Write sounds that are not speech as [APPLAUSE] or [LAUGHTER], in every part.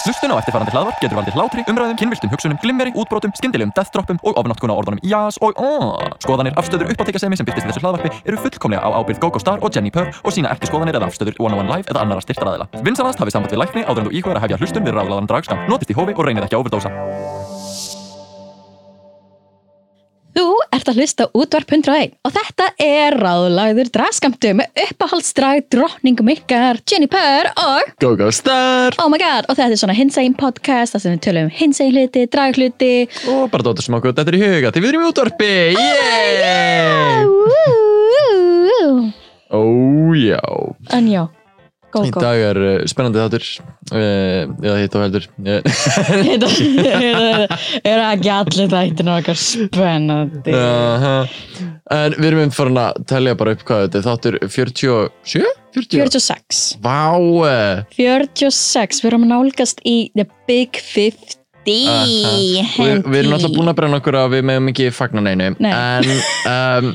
Hlustun á eftirfarandi hlaðvarp getur valdið hlátri, umræðum, kynviltum hugsunum, glimmeri, útbrotum, skyndilegum deathdroppum og ofnotkun á orðunum jás og aaaah. Skoðanir, afstöður, uppáttekasemi sem byrtist í þessu hlaðvarpi eru fullkomlega á ábyrgð GoGo Star og Jenni Purr og sína ekki skoðanir eða afstöður One on One Live eða annara styrtaraðila. Vinsanast hafið samband við lækni áður en þú íhugar að hefja hlustun við ráðlaðan dragskam. Notist í hófi og reynið ekki að overdósa. Þú ert að hlusta á útvarp 101 og þetta er ráðlagður dragskamptu með uppahaldstrag drottningum ykkar Jenny Purr og Go Go Star Oh my god og þetta er svona hinsægin podcast þar sem við tölum um hinsægin hluti, draghluti Og bara dóttur sem okkur þetta er í huga Því við erum í útvarpi yeah. yeah. Ó já En já, go Í go [LAUGHS] dag er uh, spennandi þáttur uh, Já, hitt og heldur uh, Þetta er ekki allir þættin okkar [LAUGHS] spennandi uh, En við erum farin að telja bara upp hvað þetta er Þáttur 47? 40? 46 Vá eh, 46, við erum að nálgast í The Big 50 Aha. Við, við erum alltaf búin að brenna okkur að við meðum ekki fagna neinu Nei. En um,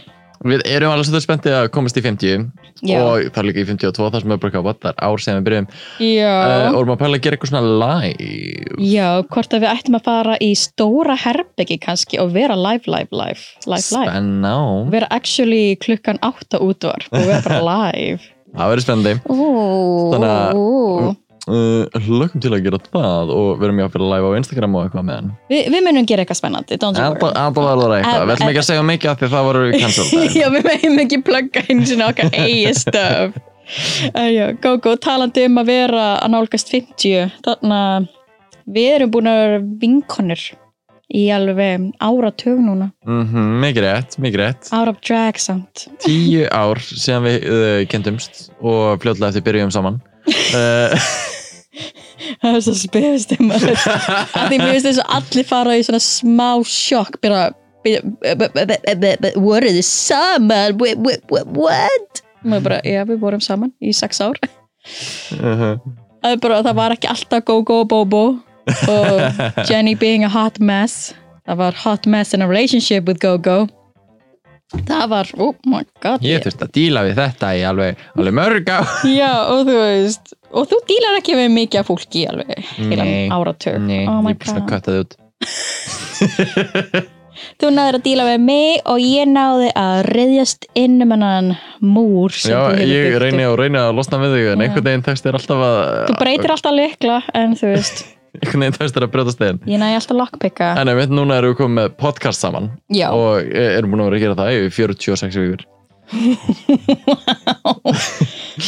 við erum alveg svolítið spenntið að komast í 50 Já. Og það er líka í 52 þar sem við bara hvað Það er ár sem við byrjum Já, uh, og erum að pæla að gera eitthvað svona live já, hvort að við ættum að fara í stóra herbyggi kannski og vera live, live, live, live, live. spenná Vera actually klukkan átta útvarp og vera [LAUGHS] bara live. það verður spennandi Þannig að- Þannig uh, lökum til að gera það og verum jáfnvel live á Instagram og eitthvað með hann Við, við munum gera eitthvað spennandi, don't you worry. enda var það eitthvað, En- við ætlum ekki að segja mikið af því að það voru [LAUGHS] cancelled [LAUGHS] já, við meðum ekki plugga eins og okkar eigi stöf. En já, Gógó, talandi um að vera að nálgast 50, þannig að við erum búin að vera vinkonir í alveg áratug núna. Mhm, mikið rétt, mikið rétt Out of drag samt. tíu ár síðan við uh, kendumst og fljótlega eftir byrjum [LAUGHS] saman [LAUGHS] uh, Það er svo spyrst um að að því mér finnst þess að allir fara í svona smá sjokk bara byrja- b- b- b- b- b- voru þið saman Wh- wh- wh- what maður bara, já við vorum saman í sex ár mhm. það, er bara, það var ekki alltaf go go bo bo og Jenny being a hot mess það var hot mess in a relationship with go go það var, oh my god ég þurfti að díla við þetta í alveg, alveg mörg á já og þú veist og þú dílar ekki við mikið af fólki alveg Nei. heilan áratug Nei, oh ég my er bara svona að god kvæta þið út Þú náður að díla með mig og ég náði að reyðjast inn um hennan múr sem Já, þú hefur ég byggt upp. reyni og reyni að losna við þig en Já. einhvern veginn tekst þér alltaf að Þú breytir alltaf lykla en þú veist, einhvern veginn tekst þér að brjóta stegin ég næði alltaf lockpicka En einmitt núna erum við komið með podcast saman Já, og eh, erum búin að vera að gera það í 46 vikur 46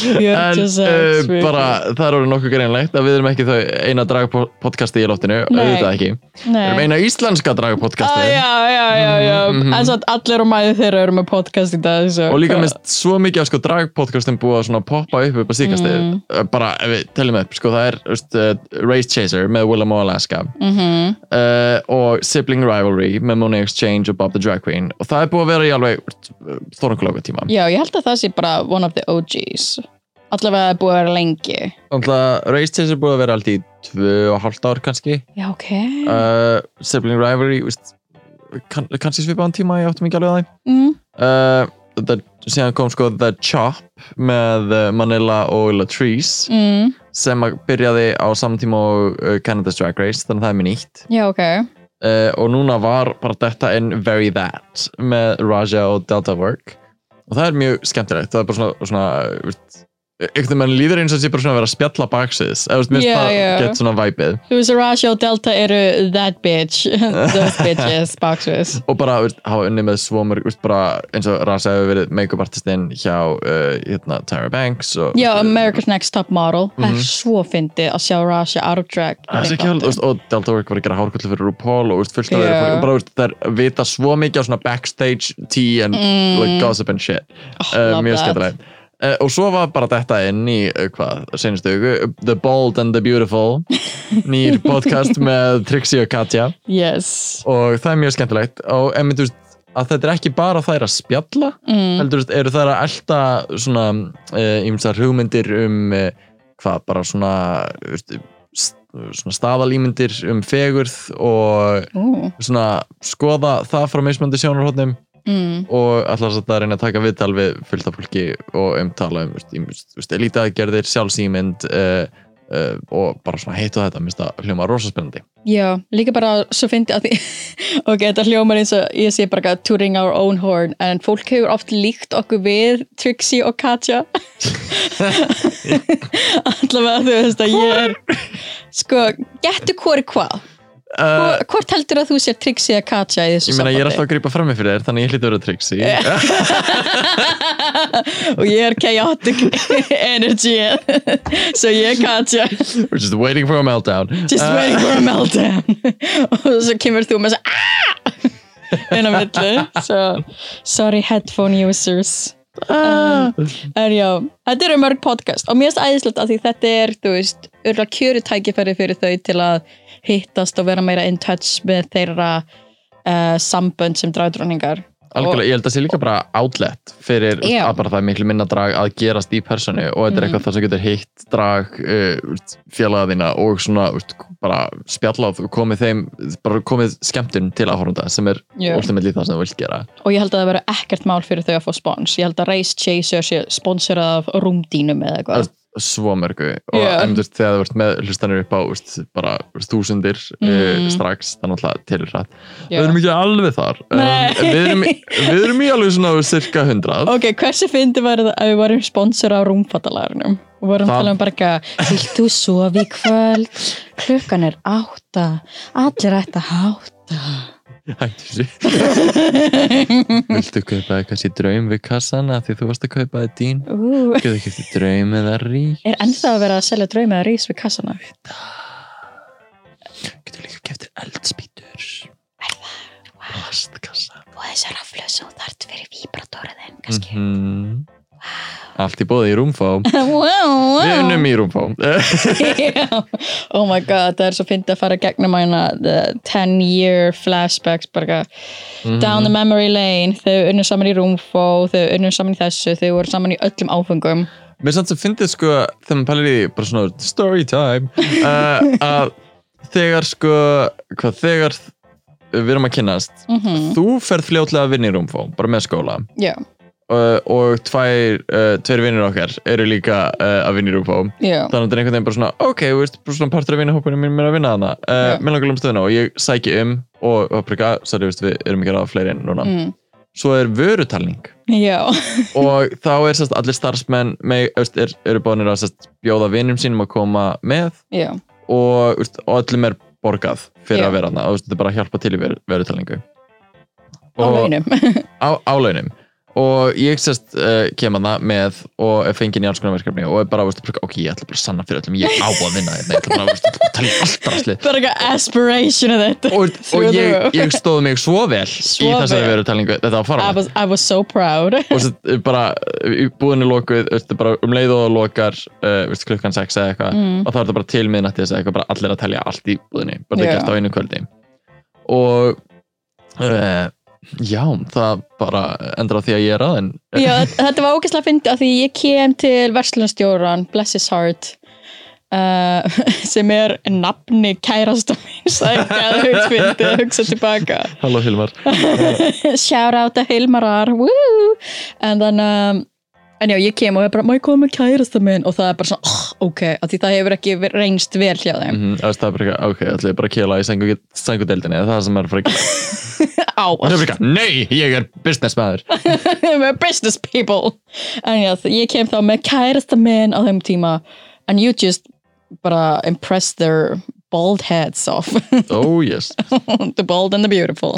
En uh, vikur. bara það er orðið nokkuð greinlegt að við erum ekki þau eina dragpodcasti í loftinu Nei. auðvitað ekki Við erum Nei eina íslenska Ah, dragpodcasti já, já, já, já. Mhm. En satt allir og mæði þeirra eru með podcast í dag svo. og líka minnst svo mikið af sko, dragpodcastum búið að svona poppa upp upp á síkastig Mm. bara ef við teljum upp sko, það er veist, uh, Race Chaser með Willem og Alaska mm uh, og Sibling Rivalry með Money Exchange og Bob the Drag Queen og það er búið að vera í alveg þornkulóka tíma Já, ég held að það sé bara one of the OGs Allavega búið að vera lengi Þannig að Race Chase er búið að vera allt í tvö og hálft ár kannski Já, ok uh, Sibling Rivalry víst, kann, kannski svipaðan tíma, ég áttum ekki alveg að mm. það uh, það- síðan kom sko The Chop með uh, Manila og Latrice Mm. sem að byrjaði á samtíma og uh, Canada's Drag Race þannig að það er mér nýtt Já, ok uh, og núna var bara þetta in Very That með Raja og Delta Work og það er mjög skemmtilegt það er bara svona, svona uh, veist, einhvern veginn líður eins og sé bara svona að vera að spjalla baksins eða veist, minnst Já, það já. gett svona væpið Þú veist, Raja og Delta eru that [LAUGHS] bitch Those bitches, boxes og bara veist, hafa unni með svo mörg veist, bara, eins og Raja hefur verið make-up artistinn hjá uh, hérna, Tyra Banks og, Já, veist, America's Next Top Model Það er svo fyndið að sjá Raja out of drag í Mhm. Það þeim er svo kjál, þáttum. veist, og Delta Work var að gera hárkullu fyrir RuPaul og veist, fullt af Já. yeah. og bara veist, það er vita svo mikið á svona backstage tea and like, gossip and shit Mm. Oh, uh, love mjög that. skemmtilegt uh, og svo var bara þetta inn í uh, hvað, senastu viku, The Bold and the [LAUGHS] Beautiful nýr podcast með Trixie og Katja Yes og það er mjög skemmtilegt og eh, en myndu að þetta er ekki bara þær að spjalla mm. heldur veist, eru þær að elta svona uh, ymsar hugmyndir um uh, hvað bara svona veist, st- svona staðalýmyndir um fegurð og Ú, svona skoða það frá mismöndi sjónarhóttnum mm. og allar satt að reyna að taka viðtal við fullta fólki og umtala um veist, ýmis- veist, elítaðgerðir, sjálfsýmynd uh, uh, og bara svona heitu þetta, minnst það hljóma rosa spennandi Já, líka bara svo fyndi að því [LAUGHS] ok, þetta hljómar eins og ég sé bara eitthvað touring our own horn en fólk hefur oft líkt okkur við Trixie og [LAUGHS] Katja allavega þú veist að ég er sko, getur hvori hvað uh, Hvor- hvort heldur að þú sér Trixie eða Katja í þessu Ég meina, ég er alltaf að grípa frammi fyrir þér, þannig ég hlýtur að vera [LAUGHS] triksi og ég er chaotic [LAUGHS] energy [LAUGHS] so ég er Katja We're just waiting for a meltdown just Uh, waiting for a meltdown [LAUGHS] og svo kemur þú með þess að inn á milli so, sorry headphone users Ah. um, en já, þetta eru mörg podcast og mér finnst æðislegt að því þetta er þú veist, örla kjöru tækifæri fyrir þau til að hittast og vera meira in touch með þeirra uh, sambönd sem dragdróningar Algjörlega, ég held að það sé líka bara outlet fyrir Já. Mhm. að bara það er miklu minna drag að gerast í personu og þetta er eitthvað það sem getur hitt drag uh, félagaðina og svona úst, bara spjallað og komið þeim, bara komið skemmtun til áhorfunda sem er Já. ultimately það sem þú vilt gera. og ég held að það vera ekkert mál fyrir þau að fá spons ég held að Race Chaser sé sponsorað af rúmdínum eða eitthvað Allt- svo mörgu og Já. en, þú veist, þegar þú ert með hlustanir upp á úst, bara úst, þúsundir Mhm. uh, strax þannig að til rætt. Já. Við erum ekki alveg þar um, Nei. við, erum, í- við erum í alveg svona cirka hundrað Ok, hversu fyndi var það að við varum sponsor á rúmfattalagarnum og vorum Það- talað um bara ekki að vilt þú sofi í kvöld klukkan er átta allir ætti að hátta Hættu sér Viltu kaupa kannski draum við kassan af því þú varst að kaupa þið dín Ú, Getur ekki eftir draum eða rí er ennþá að vera að selja drauma að rís við kassana Getur líka keftir eldspítur Vastkassa og þessi raflu sem þú þart fyrir víbratóriðin Mhm. Allt í bóði í rúmfó wow, Við unum í rúmfó Já. [LAUGHS] oh my god, það er svo fyndið að fara gegnum hana the 10 year flashbacks bara Mhm. mm. down the memory lane þau unnum saman í Rúmfó, þau unnum saman í þessu þau voru saman í öllum áfengum [LAUGHS] Mér samt sem fyndið sko þegar maður pælir í því, bara svona story time uh, að þegar sko hvað þegar við erum að kynnast mm -hmm. þú ferð fljótlega að vinna í rúmfó bara með skóla já, uh, og tvær, uh, tveir vinnir okkar eru líka uh, að vinna í Rúfó já, þannig að þetta er einhvern veginn bara svona ok, þú veist, bara svona partur af vinnahópunum minn er að vinna þarna uh, Já. mér langar um stöðuna og ég sæki um og paprika, svo þú veist, við erum ekki að ráða fleiri inn núna mm. svo er vörutalning já [LAUGHS] og þá er sérst allir starfsmenn með, þú veist, er, eru bánir að sérst, bjóða vinnum sínum að koma með já, og, þú veist, og öllum er borgað fyrir Já. að vera þarna og þú veist, þetta er bara að hjálpa til í veru- vörutalningu á launum [LAUGHS] á, á launum og ég sérst uh, kem að það með og er fenginn í alls konar verkefni og er bara, veist, bara, ok, ég ætla bara að sanna fyrir öllum ég á að vinna þetta, ég ætla bara veist, að tala í allt rastli bara eitthvað aspiration of þetta og, og ég, ég stóð mig svo vel Svo í þessari vel. verutalningu, þetta var I farað was, I was so proud og svo eh, bara í búðinu lokuð veist, bara um leið og það lokar uh, veist, klukkan 6 eða eitthvað Mm. og þá er þetta bara til miðnætti eða eitthvað, bara allir að telja allt í búðinu bara Já. þetta er gert á einu kvöldi og uh, já, það bara endur á því að ég er aðeins já, þetta var ógæslega fyndið af því ég kem til verslunarstjóran bless his heart Uh, [LAUGHS] sem er nafni kærasta mín sækjað [LAUGHS] hugfindi að hugsa tilbaka Halló Hilmar shout out að Hilmarar woo! en þannig um, en já, ég kem og ég bara, má ég koma með kærasta minn og það er bara svona, oh, ok, af því það hefur ekki ver- reynst vel hjá þeim mm, Það er bara eitthvað, ok, ætlum ég bara að kela í sængu- sængudeildinni eða það sem er frekar [LAUGHS] Og á, það Mm. er bara eitthvað, nei, ég er business maður [LAUGHS] we're business people en já, þ- ég kem þá með kærasta minn á þeim tíma and you just bara impress their bald heads off [LAUGHS] [LAUGHS] Oh yes the bald and the beautiful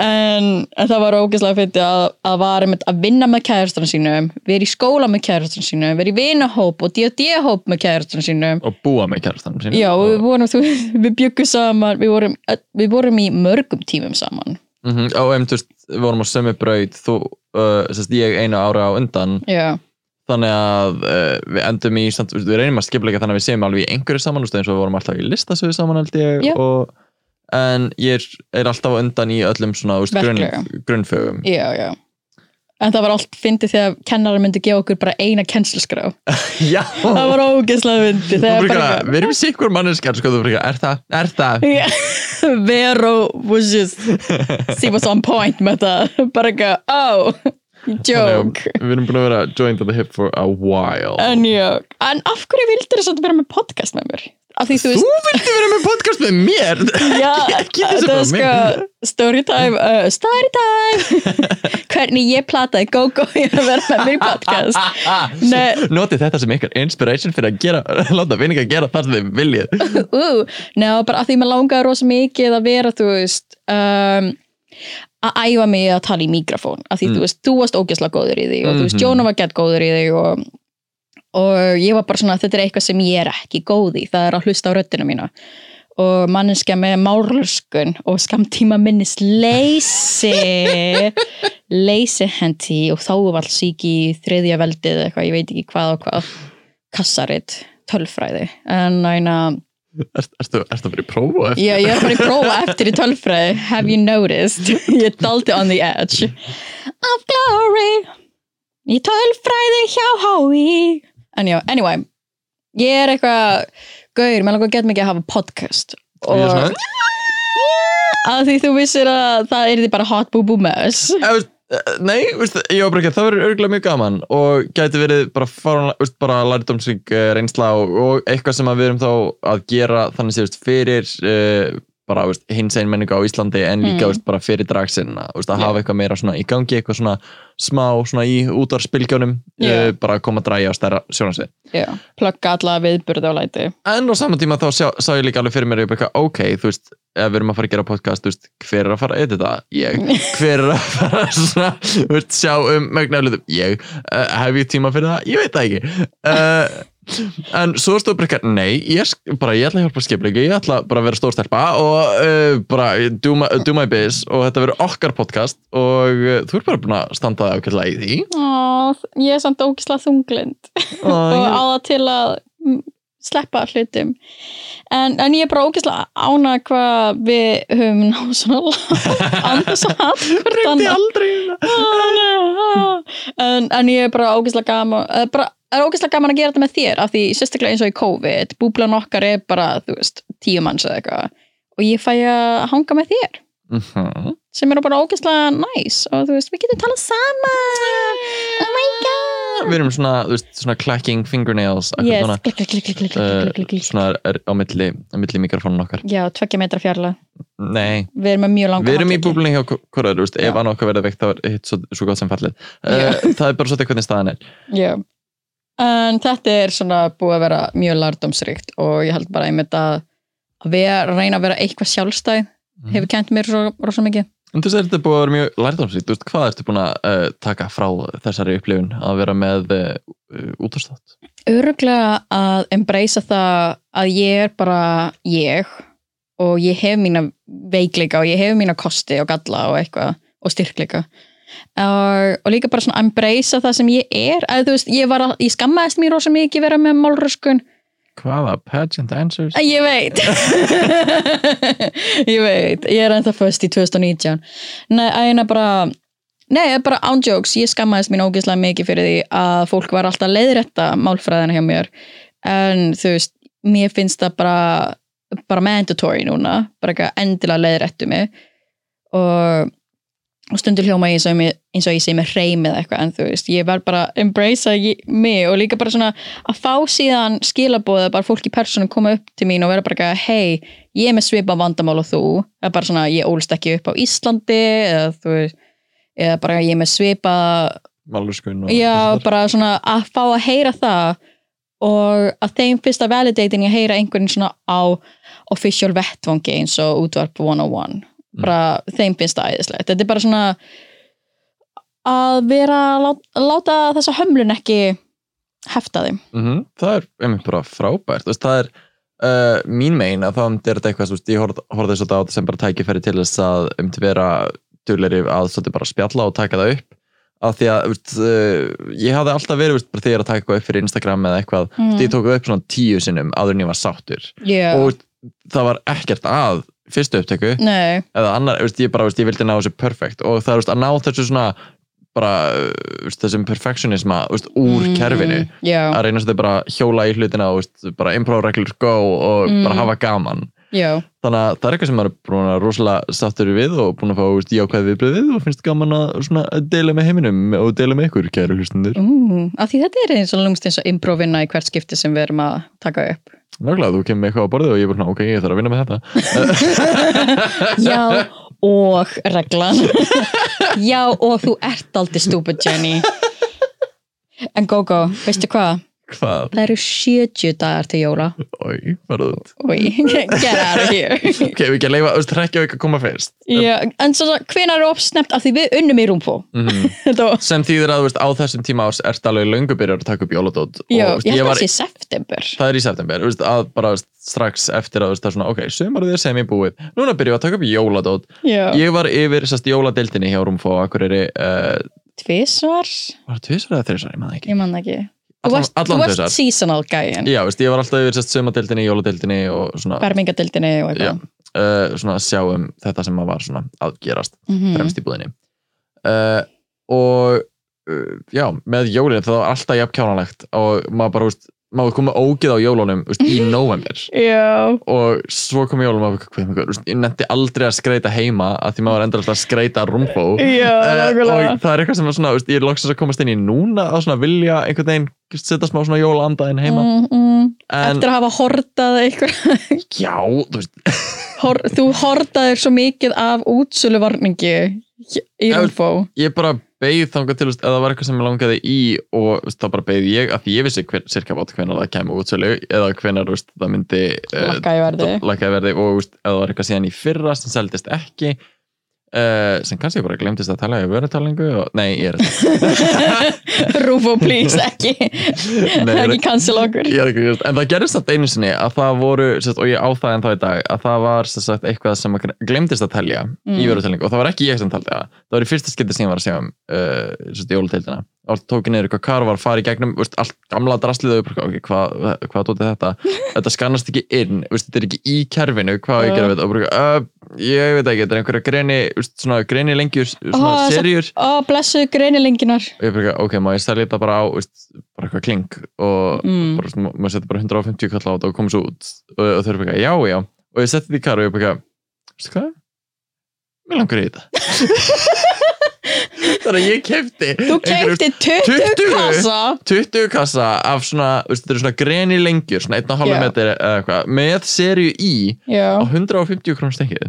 en, en það var ógeðslega fyndi að, að var einmitt að vinna með kærastan sínum vera í skóla með kærastan sínum vera í vinahóp og D&D-hóp með kærastan sínum Og búa með kærastanum sín já, og við vorum, þú, við bjöggum saman við vorum, við vorum í mörgum tímum saman mm -hmm, Og em, þú veist, við vorum á sömu braut Þú, uh, sérst, ég einu ára á undan já, Þannig að uh, við endum í samt, Við reynum að skipleika þannig að við séum alveg í einhverju saman þú veist, eins og við vorum alltaf í listasöðu saman held ég Já. og, En ég er alltaf á undan í öllum svona þú veist, grunn, Verklega. grunnfögum já, já En það var allt fyndið þegar kennarar myndi gefa okkur bara eina kennsluskrá. Já, Það var ógeðslega fyndið. Þú Þegar bara bara... eitthvað, Við erum sikkur manneskar sko, þú bara eitthvað, Er það, er það Já, [LAUGHS] Vero was just she was on point með það. Bara ekki, oh joke Við erum búin að vera joined at the hip for a while en já, en af hverju vildir þess að vera með podcast með mér? af því þú veist Þú vildi vera með podcast með mér [LAUGHS] Já, ekki þessu þetta bara er sko storytime, uh, [LAUGHS] storytime hvernig ég plataði go-go ég er að vera með mér í podcast [LAUGHS] Nei, Ah. Notið þetta sem ykkar inspiration fyrir að gera, [LAUGHS] láta vinninga gera það sem þið viljið [LAUGHS] ú, neða bara að því maður langaði rosa mikið að vera, þú veist um, að æfa mig að tala í mikrofón, að því þú veist, þú varst ógæslega góður í því og þú veist, Mhm. Jóna var gett góður í því og, og ég var bara svona þetta er eitthvað sem ég er ekki góð í það er að hlusta á röddina mína og manneskja með málurskun og skamtíma minnis leysi leysi hendi og þávallsíki þriðja veldið eitthvað, ég veit ekki hvað og hvað kassarit, tölfræði en næna, Ertu ertu- ertu að vera í prófa eftir? já, ég er bara í prófa eftir í tölfræði, have you noticed ég er daldi on the edge of glory í tölfræði hjá hái en já, anyway ég er eitthvað, gaur, mér langar gett mikið að hafa podcast Ég er svona, að því þú vissir að það er því bara hot boo boo mess Eh, veist, eh, Nei, veist, ég var bara ekki, það verður örgulega mjög gaman og gæti verið bara, faran, veist, bara lærdómsvík reynsla og, og eitthvað sem að við erum þá að gera þannig sé veist, fyrir uh, bara veist, hins einn menningu á Íslandi en líka Mm. veist, bara fyrir dragsinna veist, að Já. hafa eitthvað meira svona í gangi eitthvað svona smá svona í útarspilgjónum Já. yeah. bara að koma að dræja á stærra sjónarsvið Já, plugga alla viðburði á læti en á saman tíma þá sá, sá ég líka alveg fyrir mér ég bara, eitthvað, ok, þú veist, ef við erum að fara að gera podcast þú veist, hver er að fara að edita? [LAUGHS] Ég hver er að fara að svona, þú veist, sjá um megnaflutum? Ég uh, hef ég tíma fyrir það? Ég veit það ekki uh, en svo stóð bara eitthvað nei, ég, sk- bara, ég ætla að hjálpa skiplingu ég ætla bara að vera stórstelpa og uh, bara do my, do my biz og þetta verður okkar podcast og uh, þú ert bara búin að standa það ákveðlega í því Ó, ég er samt ógislega þunglind og á það til að mm, sleppa hlutum en, en ég er bara ógislega ána hvað við höfum náð svona [LAUGHS] andas að hatt hvort Dreymdi annað aldrei um það. Ó, nei, á. en, en ég er bara ógislega gaman eh, bara, er ógislega gaman að gera þetta með þér af því sérstaklega eins og í COVID búblan okkar er bara, þú veist, tíu manns eða eitthvað og ég fæ að hanga með þér Mhm. sem eru bara ógeðslega næs og þú veist, við getum talað saman oh my god við erum svona, þú veist, svona clacking fingernails akkur yes, svona, klik, klik, klik, klik, klik, uh, klik, klik, klik, svona er á milli, á milli mikrofónun okkar já, tveggja metra fjarlag nei, við erum með mjög langa við erum í handleggi. búblunni hjá korður, veist, Já. ef hann okkar verður veikt þá er hitt svo, svo gott sem fallið Já. uh, það er bara svolítið hvernig staðan er já en þetta er svona búið að vera mjög lærdómsrikt og ég held bara einmitt að að við að reyna að vera eitthvað sjálfstæð Mhm. hefur kent mér svo rosa mikið en þú veist, þetta er búið að vera mjög lærdomsrýtt þú veist, hvað ertu búin að uh, taka frá þessari upplifun að vera með uh, útastátt öruglega að embracea það að ég er bara ég og ég hef mína veikleika og ég hef mína kosti og galla og eitthvað og styrkleika og, og líka bara svona embracea það sem ég er að þú veist, ég, var að, ég skammaðist mér rosa mikið vera með málröskun hvaða pageant answers Æ, ég veit ég veit, ég er ennþá föst í 2019 nei, að hérna bara nei, bara án jokes, ég skammaðist mín ógeðslega mikið fyrir því að fólk var alltaf leiðrætta málfræðina hjá mér en þú veist, mér finnst það bara bara mandatory núna bara ekki að endilega leiðrættu mig og og stundur hljóma ég eins og, ég- eins og ég sé með reymið eitthvað en þú veist, ég var bara að embracea ég- mig og líka bara svona að fá síðan skilaboð að bara fólk í persónum koma upp til mín og vera bara eitthvað hei, ég er með svipa vandamál og þú eða bara svona, ég ólst ekki upp á Íslandi eða þú veist eða bara ég er með svipa malurskun og já, þessar. bara svona að fá að heyra það og að þeim fyrst að validatin ég heyra einhvern svona á official vettvangi eins og útvarp 101 bara þeim finnst það æðislegt þetta er bara svona að vera að láta, láta þessa hömlun ekki hefta þeim -hmm. það er einmitt bara frábært þú veist, það er uh, mín megin að þá um er þetta eitthvað, þú veist, ég horf- horfði þess að á þetta sem bara tækifæri til þess að um til vera dugleiri að svolítið bara spjalla og taka það upp af því að þú veist, uh, ég hafði alltaf verið þú veist, bara þegar ég er að taka eitthvað upp fyrir Instagram eða eitthvað, mm. Mhm. ég tók það upp svona tíu sinnum áður en ég var sáttur yeah. og þú veist, það var ekkert að fyrstu upptöku Nei, eða annar, veist, ég bara, veist, ég vildi ná þessu perfect og það er veist, að ná þessu svona bara, veist, þessum perfectionisma veist, úr kerfinu Mm, já, að reyna svolítið bara að hjóla í hlutina og veist, bara improv reglur go og Mm. bara hafa gaman já, þannig að það er eitthvað sem maður er búin að rosalega sattur við og búin að fá veist, jákvæð viðbröðið og finnst gaman að svona, deila með heiminum og deila með ykkur kæru hlustundur. ú, af því þetta er eins og lúmst eins og improvinna í hvert skipti sem við erum að taka [LAUGHS] upp Nákvæmlega, þú kemur með eitthvað á borðið og ég er bara svona, ok, ég þarf að vinna með þetta. Já, og reglan [LAUGHS] Já, og þú ert aldrei stupid Jenny En Gogo, veistu hvað? Hvað? Það eru 70 dagar til jóla Ói, farað út. Új, get out of here [LAUGHS] Ok, við ekki að leifa, þú veist, rekja ekki að koma fyrst. Já, En svo, hvenær er uppsnemt af því við unnum í rúmpó Mhm. Þetta var Sem þýðir að, þú veist, á þessum tíma ás ert alveg löngu byrjar að taka upp jóladót. Já, og, þú veist, ég held var að sé september það er í september, þú veist, að bara þú veist, strax eftir að þú veist, það er svona, ok, sumarið er sem ég búið núna byrjum við að taka upp jóladót Já, ég var yfir sérst jóladeildinni hjá Rúmfó og akkur er uh, tvisvar var það tvisar eða þrisar, ég maður ekki Ég man það ekki Þú Allan- varst, þú allan varst tvisvar. seasonal gæin já, þú veist, ég var alltaf yfir sérst sumadeildinni, jóladeildinni og svona, Bermingadildinni og já, eitthvað uh, svona sjáum þetta sem að var svona að gerast Mhm. fremst í búðinni uh, og uh, já, með jólin það var alltaf jafn kjánalegt og maður bara, þú veist, maður komið ógið á jólunum þú veist, [LAUGHS] í november Já og svo kom jólum af hvað með ykkur, ég nefndi aldrei að skreita heima að því maður var endur alltaf að skreita rúmbó Já, nákvæmlega. Eh, og það er eitthvað sem er svona, veist, ég er loksins að komast inn í núna að svona vilja einhvern veginn setja smá svona jólaandaðin heima mm, mm. en Eftir að hafa hortað eitthvað já, þú veist, Hor, þú hortaðir svo mikið af útsöluvarningi í Já. Rúfó ég bara beigð þangað til þú veist, að það var eitthvað sem ég langaði í og þú veist, það bara beigð ég að því ég vissi hver, cirka bát hvenær það kemur útsölu eða hvenær þú veist, það myndi uh, lakka í verði [LAUGHS] lækkaði verði og þú veist, ef það var eitthvað síðan í fyrra sem seldist ekki uh, sem kannski bara glemtist að tala í vörutalingu og, nei, [LAUGHS] ég er Rúfó, please, ekki Nei, ég er- ekki cancel okkur Ég er ekki, en það gerist þetta einu sinni að það voru, sérst, og ég á það en þá í dag að það var sem sagt, eitthvað sem að glemdist að telja Mm. í vörutelningu og það var ekki ég sem taldi það það var í fyrsta skipti sem ég var að segja um uh, sérst, jóluteildina og tók ég niður eitthvað kar og var að fara í gegnum veist, allt gamla draslið og ég bara, ok, hvað hva dótið þetta þetta skannast ekki inn, veist, þetta er ekki í kerfinu hvað á ég að gera við þetta og bara, uh, ég veit ekki, þetta er einhverja greni veist, svona greni lengjur, svona Ah, þessa- serjur Ó, blessuðu greinilenginar og ég bara, ok, má ég selja þetta bara á veist, bara eitthvað kling og mm. bara, svona, maður setja bara 150 kall á þetta og komið svo út og, og þau eru bara, eitthvað, já, já og ég setti því kar og ég bara, eitthvað, veistu hvað mér langar í [LAUGHS] þetta þannig að ég kefti Þú keipti 20 20? kassa 20 kassa af svona, veistu, þetta eru svona greni lengjur svona 1,5 Já. metri eða eitthvað með serju í á Já 150 krónum stengið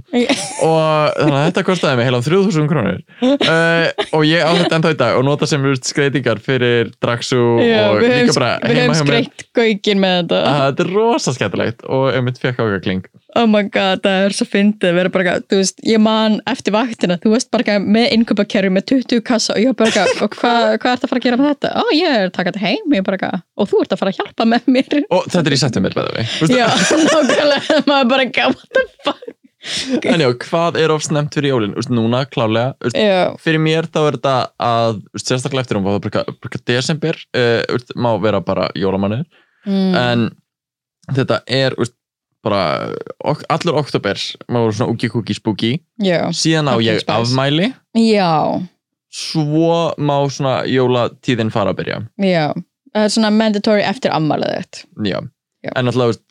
og þannig að þetta kostiði mig heilan 3000 krónur uh, og ég á þetta ennþá í dag og nota sem veist, skreitingar fyrir Draxu Já, og við líka höfum, bara við höfum heima hjá mér skreitt gaukin með þetta að þetta er rosa skemmtilegt og ég mitt fekk ákveða kling Oh my god, það er svo fyndið vera bara, eitthvað, þú veist, ég man eftir vaktina þú veist bara eitthvað með innkaupakerfi með 20 kassa og ég var bara, eitthvað, og hvað hva ert að fara að gera með þetta? Ó, ég er að taka þetta heim ég bara, eitthvað, og þú ert að fara að hjálpa með mér og þetta er í september by the way. Þú Já, veist, nákvæmlega, [LAUGHS] maður bara eitthvað, what the fuck en já, hvað er of snemt fyrir jólin Þú veist, núna klálega Þú veist, Já, fyrir mér þá er þetta að þú veist, sérstaklega eftir um það bruka, bruka desember uh, veist, má vera bara jólamannir mm, en þetta er þú veist, bara ok, allur oktober má vera svona úki kúki spúki já, síðan á Fucking ég spice. afmæli já, svo má svona jólatíðin fara að byrja já það er svona mandatory eftir ammalið þitt já. Já. en alltaf þú veist,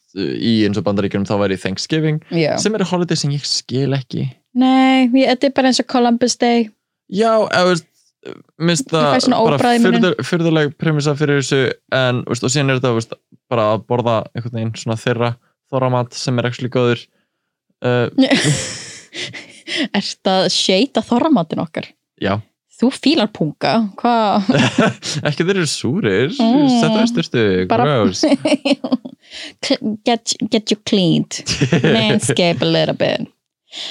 í eins og bandaríkjum þá væri Thanksgiving Já, sem eru holiday sem ég skil ekki nei, ég, þetta er bara eins og Columbus Day [LAUGHS] já, eða þú veist minnst Ég fæ það svona bara óbragð í munninn. furður- furðuleg premissa fyrir þessu en þú veist, og síðan er þetta þú veist, bara að borða einhvern veginn svona þeirra þorramat sem er ekki góður uh, [LAUGHS] Ert að shade að þorramatinn okkar já, Þú fílar punga, hvað ekki þeir eru súrir Mm. þetta er styrstu, Bara- [LAUGHS] gross Cl- [LAUGHS] get, get you [LAUGHS] cleaned manscape a little bit en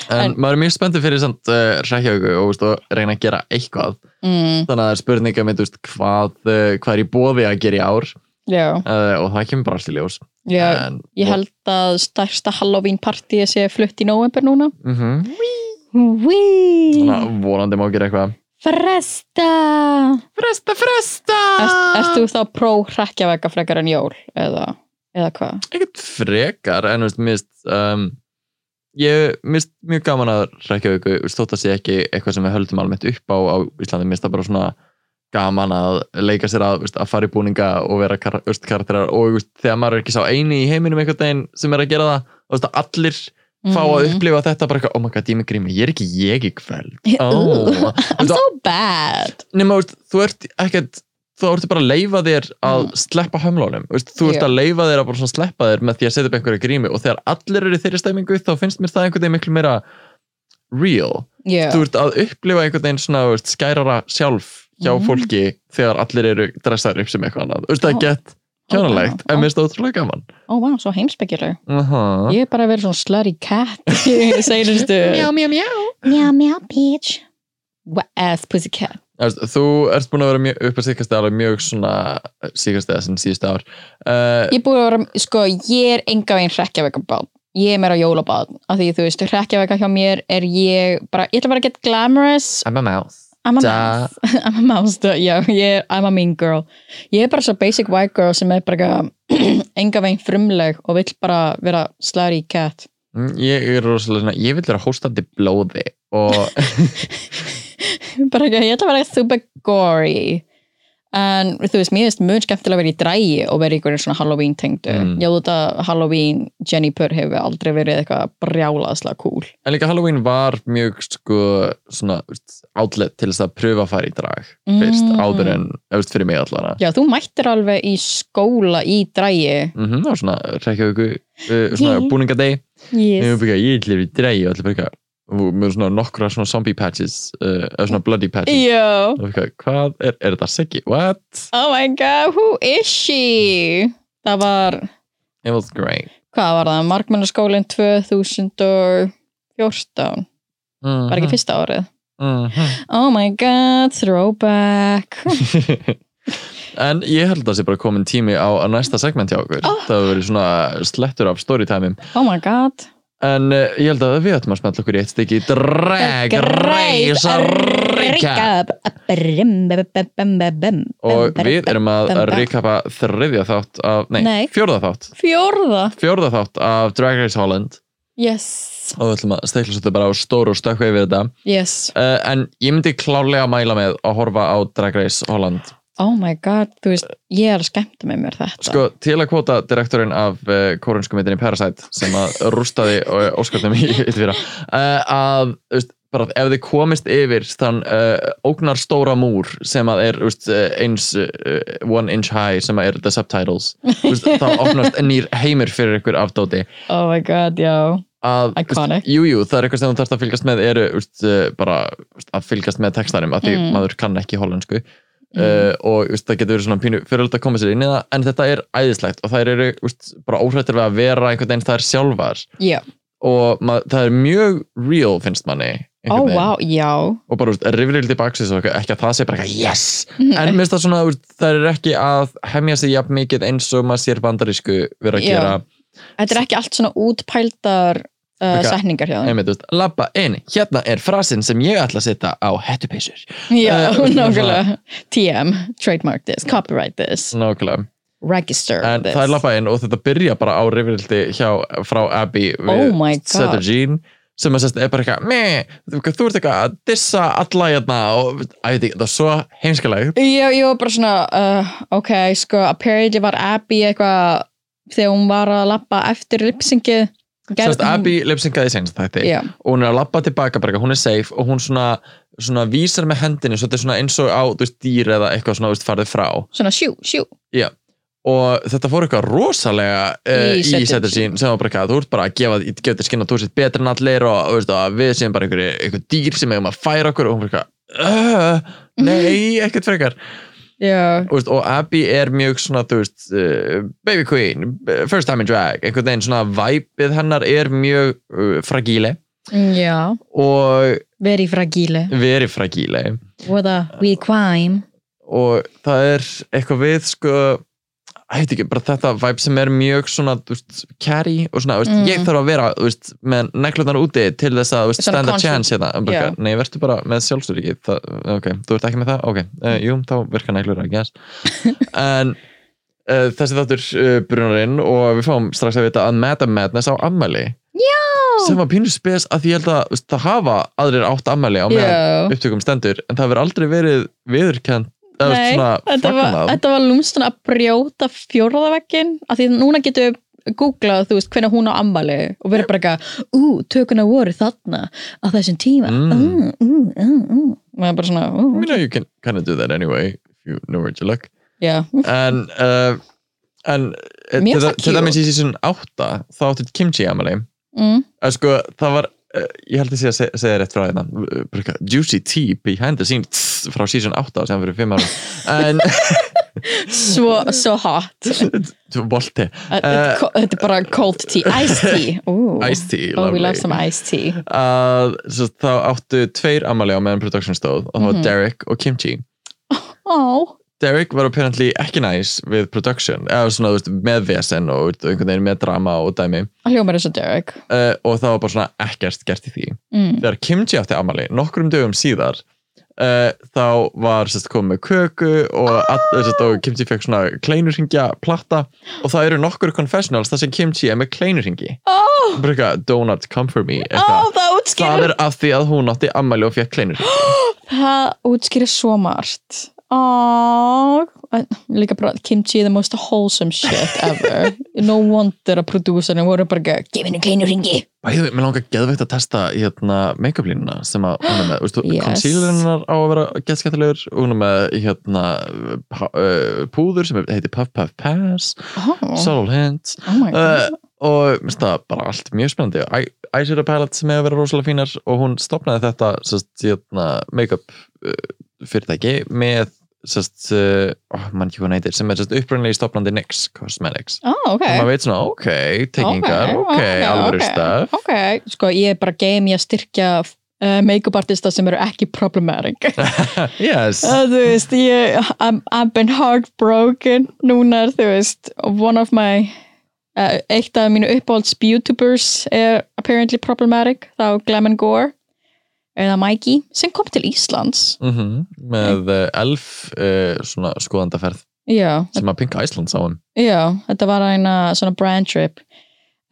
En- maður er mjög spenntið fyrir samt uh, rækjaðu og, veist, og reyna að gera eitthvað mm, þannig að það er spurninga með veist, hvað, uh, hvað er í bóði að gera í ár já, uh, og það kemur bara allt í ljós já, en, ég held að stærsta Halloween party sé flutt í november núna mm Wee, þannig að vonandi má gera eitthvað fresta Fresta, fresta Ert, Ert þú þá pró hrekkjavega frekar en jól eða, eða hvað? Ekkert frekar en þú veist, mist um, ég mist mjög gaman að rekja ykkur, stótt að sé ekki eitthvað sem við höldum almennt upp á á Íslandi, mist það bara svona gaman að leika sér að, þú veist, að fara í búninga og vera kar, þú veist, karakterar og þú veist, þegar maður er ekki sá eini í heiminum einhvern veginn sem er að gera það þú veist að allir fá að Mm. upplifa þetta bara eitthvað, oh my god, ég er með grími, ég er ekki ég í kvöld [LAUGHS] [LAUGHS] oh. Ooh, I'm Þú so veist, bad nema, þú veist, þú ert ekkert þá ertu bara að leifa þér að Mm. sleppa hömlónum, þú veist, þú ert Já. að leifa þér að bara svona sleppa þér með því að setja upp einhverju grími og þegar allir eru í þeirri stemmingu þá finnst mér það einhvern veginn miklu meira real, yeah. þú ert að upplifa einhvern veginn svona, þú veist, skærara sjálf hjá Mm. fólki þegar allir eru dressaður upp sem eitthvað annað, þú veist, Ó. það er gett Ó, kjánalegt, en mér finnst það ótrúlega gaman Ó, vá, Oh, svo heimsbyggjur uh Ég hef bara verið svona slurry cat [LAUGHS] Seinustu mjá, mjá Meow, meow, bitch Wet ass pussycat Erst, þú ert búin að vera mjög, upp að síkast eða mjög svona síkast eða sem síðust ár uh, Ég er búin að vera, sko, ég er enga veginn hrekkjavegabátt Ég er meira jólabátt Af því, þú veist, hrekkjavega hjá mér er ég bara, ég ætla bara að get glamorous I'm a mouse I'm a Da. mouse [LAUGHS] I'm a mouse, da, já, ég er, I'm a mean girl Ég er bara svo basic white girl sem er bara [CLEARS THROAT] eitthvað enga veginn frumleg og vill bara vera slurry cat Mm, Ég er rosalega svona, ég vil vera hóstandi blóði og [LAUGHS] bara ekki, ég ætla að vera super gory en þú veist, mér finnst mun skemmtilega að vera í drægi og vera í einhverjum svona Halloween tengdu Mm. já þú veit að Halloween Jennifer hefur aldrei verið eitthvað brjálaðslega cool en líka Halloween var mjög sko svona veist, outlet til þess að pröfa að fara í drag fyrst Mm. áður en, eða veist, fyrir mig allan já þú mættir alveg í skóla í drægi mm -hmm, og svona rekja ykkur uh, svona Ég- búningadegi ég yes. er bara eitthvað, ég vil vera í dregi og allir bara eitthvað og með svona nokkra svona zombie patches uh, eða svona bloody patches já, Og eitthvað, hvað er, er þetta Siggi? What? oh my god, who is she það var, It was great hvað var það markmannarskólinn 2014 mm var ekki fyrsta árið mm oh my god, throwback [LAUGHS] En ég held að það sé bara komin tími á, á næsta segment hjá okkur Oh. Það hefur verið svona slettur af storytime oh my god En uh, ég held að við ættum að smetla okkur í eitt stykki Drag Reisa Ríka Og við erum að ríkapa þriðja þátt af, nei, Nei. fjórða þátt Fjórða Fjórða þátt af Drag Race Holland Yes, og við ætlum að stekla svolítið bara á stóru og stökku yfir þetta yes uh, En ég myndi klálega að mæla með að horfa á Drag Race Holland Oh my god, þú veist, ég er að skemmta með mér þetta Sko, til að kvota direktorinn af uh, kórensku myndinni Parasite sem að rústaði [LAUGHS] uh, óskarnum í ytfýra uh, að, þú veist, bara að ef þið komist yfir þann uh, ógnar stóra múr sem að er, þú veist, uh, eins uh, one inch high sem að er the subtitles þú veist, þá opnast nýr heimur fyrir ykkur afdóti Oh my god, já að, þú Iconic. veist, jú, jú, það er eitthvað sem þú þarfst að fylgast með eru, þú veist, uh, bara þú veist, að fylgast með textanum, að því Mm. maður kann ekki hollensku uh, og úst, það getur verið svona pínu fyrir að koma sér inn í það en þetta er æðislegt og þær eru úst, bara óhrættir við að vera einhvern veginn þær sjálfar Já, og mað, það er mjög real finnst manni ó einhvern Oh, veginn. wow, já og bara úst, rifrið til baksins og eitthvað, ekki að það sé bara eitthvað yes [LAUGHS] en Nei. mér finnst það svona úst, þær eru ekki að hemja sig jafn mikið eins og maður sér bandarísku vera að Já. gera Þetta er ekki allt svona útpældar uh, Ok. setningar hjá þeim einmitt, úst, labba inn, hérna er frasinn sem ég ætla að setja á hettupeysur Já, eh, [LAUGHS] nákvæmlega TM, trademark this, copyright this nákvæmlega Register Mm. en this það er lappa inn og þetta byrja bara á rifrildi hjá, frá Abby Oh my god. Setter Jean sem að sérst er bara eitthvað meh, þú þú ert eitthvað að dissa alla hérna og að veit ekki, það er svo heimskalegt Já, ég var bara svona, uh, ok, sko, apparently var Abby eitthvað þegar hún var að lappa eftir lipsingið. sérst Abby lipsingaði senst þetta Já, og hún er að lappa tilbaka bara eitthvað, hún er safe og hún svona, svona vísar með hendinni svo þetta er svona eins og á, þú veist, dýr eða eitthvað svona, þú veist, farið frá svona sjú, sjú. og þetta fór eitthvað rosalega uh, Í í Setter setur sín sem var bara eitthvað, þú ert bara að gefa ég gefa þér skinn að þú ert betri en allir og þú veist, að við séum bara einhverju einhver dýr sem eigum að færa okkur og hún bara eitthvað, uh, nei, ekkert frekar Já, og, veist, og Abby er mjög svona, þú veist uh, baby queen, first time in drag einhvern veginn svona væpið hennar er mjög uh, fragíli já, og very fragile. verið fragíli What a we climb. og það er eitthvað við sko ég veit ekki, bara þetta vibe sem er mjög svona, þú veist, carry og svona, þú veist, Mm. ég þarf að vera, þú veist, með neglunar úti til þess að, þú veist, Svona stand a confident. chance hérna, En bara, Já. eitthvað, nei, verður bara með sjálfsöryggi það, ok, þú ert ekki með það, ok uh, jú, þá virka neglur, I [LAUGHS] guess en uh, þessi þáttur uh, brunarinn og við fáum strax að vita að Madam Madness á ammæli sem var pínu spes að því ég held að þú veist, það hafa aðrir átt ammæli á meðan Já, upptökum stendur en það hefur aldrei verið viðurkend eða Nei, svona þetta var, fagnað þetta var lúmstun að brjóta fjórðaveggin, af því núna getum við googlað, þú veist, hvenær hún á ammali og verið bara eitthvað, ú, tökuna voru þarna á þessum tíma Mm. mm. Mm, mm, mm, mm. maður er bara svona I ú, mean, you can kind of do that anyway if you know where [LAUGHS] to look já, en, uh, en eh, Mér til það þa- til cute. dæmis í sísun 8 þá átti kimchi amali mm, að sko það var eh, ég held að sé að segja, segja rétt frá hérna eh, bara eitthvað, juicy tea behind the scenes tss, frá season 8 sem fyrir [LAUGHS] 5 ára en [LAUGHS] svo, svo hot þú volti Eh, þetta þetta er bara cold tea, iced [LAUGHS] tea ú, iced tea oh, we lovely. love some iced tea að svo, þá áttu tveir amali á meðan production stóð og það var Mhm. Derek og Kimchi oh, Derek var apparently ekki næs við production, eða svona þú veist, með vesen og þú veist, einhvern veginn með drama og dæmi hljómar eins og Derek uh, og það var bara svona ekkert gert í því mm. þegar Kimchi átti amali nokkrum dögum síðar uh, þá var sérst komið með köku og, all, sérst, og Kimchi fekk svona kleinurringja platta og það eru nokkur confessionals þar sem Kimchi er með kleinurringi oh, bara eitthvað donut come for me oh, eitthvað. það það útskýrir er af því að hún átti amali og fekk kleinurringi það útskýrir svo margt Oh, líka bara kimchi the most wholesome shit ever [LAUGHS] no wonder að prodúsarnir voru bara ekki, give henni kleinu ringi Bæðið, mér langar geðveikt að testa hérna, make-up línuna sem að hún er með, veistu, [GASPS] Yes. yes. concealerinnar á að vera geðskættilegur, hún er með hérna, pá- uh, púður sem heitir Puff Puff Pass, oh, Subtle Hint oh my god uh, og mér finnst það bara allt mjög spennandi Eye- Eyeshadow Palette sem hefur verið rosalega fínar og hún stopnaði þetta sest, hérna, make-up uh, fyrirtæki með sest, uh, oh, mann ekki hvað hann heitir, sem er sest, upprunalegi stopnandi NYX Cosmetics oh, ok og maður veit svona, ok, tekingar ok, ok, alvöru ok, stöf ok, sko ég er bara game í að styrkja uh, make-up artista sem eru ekki [LAUGHS] problematic uh, yes þú veist, ég I'm, I've been heartbroken núna er, þú veist, one of my uh, eitt af mínu uppáhalds beautubers er apparently problematic þá Glam and Gore eða Mikey, sem kom til Íslands mm með uh, elf uh, svona skoðandaferð já, sem að Pink Iceland sá um. hann Já, þetta var eina svona brand trip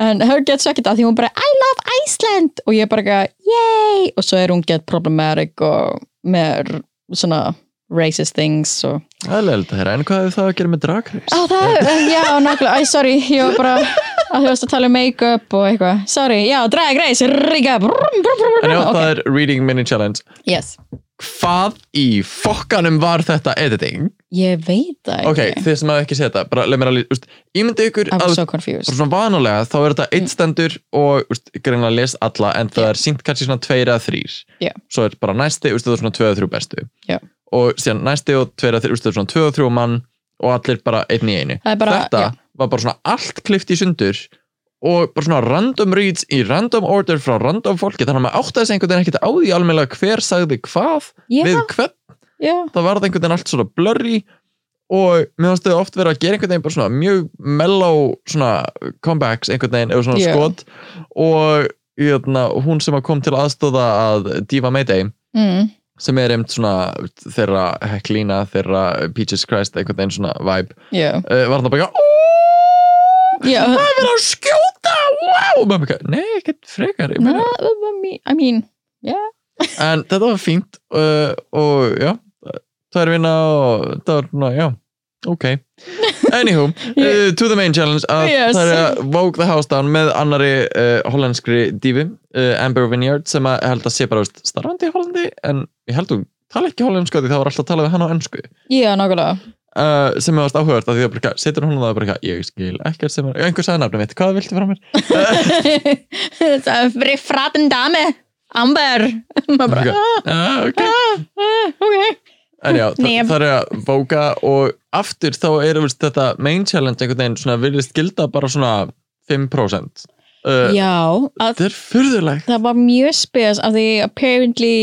en hún gett svo ekkert að því hún bara I love Iceland og ég bara eitthvað, yay og svo er hún gett problematic og með r- svona racist things og aðlega þetta herra, en hvað hefur það að gera með dragreis? Ó, það, [LAUGHS] já, nákvæmlega, æ, sorry ég var bara að þú varst að tala um make-up og eitthvað, sorry, já, drag race ríka, brum, brum, brum, en já, brum það ok, er Reading Mini Challenge yes, hvað í fokkanum var þetta editing? ég veit það ok, ekki þið sem hafa ekki séð þetta, bara leið mér alveg úst, ímyndi ykkur I'm að so bara confused svona vanulega þá er þetta Mm. eitt stendur og úst, greinlega les alla en það er sínt kannski svona tveir eða þrýr Já. svo er bara næsti, úst, það er svona tvö eða þrjú bestu Já. og síðan næsti og tveir eða þrjú úst, það er svona tvö og þrjú mann og allir bara einn í einu Það er bara- þetta já. var bara svona allt klift í sundur og bara svona random reads í random order frá random fólki þannig að maður áttaði sig einhvern veginn ekkert á því almennilega hver sagði hvað já, við hvern já, það varð einhvern veginn allt svona blurry og mér finnst þau oft vera að gera einhvern veginn bara svona mjög mellow svona comebacks einhvern veginn eða svona Já. skot og jötna, hún sem að kom til aðstóða að Diva Mayday mm, sem er einmitt svona þeirra Heclina, þeirra Peaches Christ einhvern veginn svona vibe já uh, var það bara ekki já, að vera að skjóta wow! og maður bara eitthvað, nei, ekkert frekar ég meina. I mean en þetta var fínt uh, og já, það er vinna og það var, ná, já, ok [LAUGHS] anywho, uh, to the main challenge að Yes. það er að Vogue the House Down með annari uh, hollenskri dífi, uh, Amber Vineyard sem að ég held að sé bara veist, starfandi í Hollandi en ég held hún tala ekki hollensku af því það var alltaf að tala við hann á ennsku já, nákvæmlega uh, sem er varst áhugavert af því að bara, eitthvað, setur hún á það bara, eitthvað, ég skil ekkert sem er, einhver sagði nafnum mitt, hvað viltu frá mér [LAUGHS] Fyrir fratin dame Amber [LAUGHS] Maður bara, Eitthvað. uh, ok Eh. ah, Ok En já, þa Nef. það er að bóka og aftur þá er veist, þetta main challenge einhvern veginn svona virðist gilda bara svona 5% uh, Já, að, Þetta er furðulegt það var mjög spes af því apparently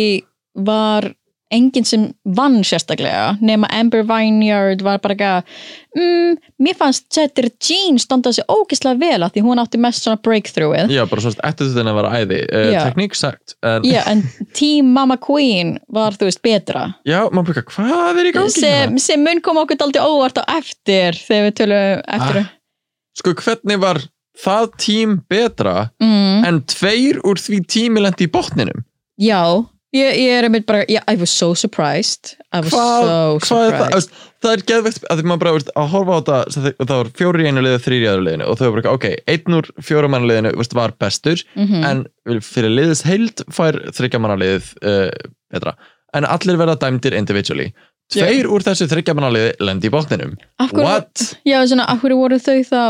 var enginn sem vann sérstaklega nema Amber Vineyard var bara eitthvað mm, mér fannst Cheddar Jean standa sig ógeðslega vel af því hún átti mest svona breakthroughið Já, bara svona eftir þetta að vera æði uh, Já. Tekník sagt en, Já, en Team Mama Queen var, þú veist, betra Já, maður bruka, hvað er í gangi? hérna? sem, sem mun koma okkur daldi óvart á eftir þegar við tölum eftir Ah. Sko, hvernig var það tím betra mm. en tveir úr því tími lendi í botninum Já, Ég, ég er einmitt bara, yeah, I was so surprised I was so hvað er það, surprised Veist, það er geðvegt að því maður bara veist, að horfa á þetta, sem þau- það var fjóri í einu liði þrýri í öðru liðinu og þau var bara, ok, einn úr fjóra manna liðinu veist, var bestur Mhm. en fyrir liðis heild fær þryggja manna liðið uh, betra, en allir verða dæmdir individually, tveir úr þessu þryggja manna liði lendi í botninum Af hverju- what? Já, svona, af hverju voru þau þá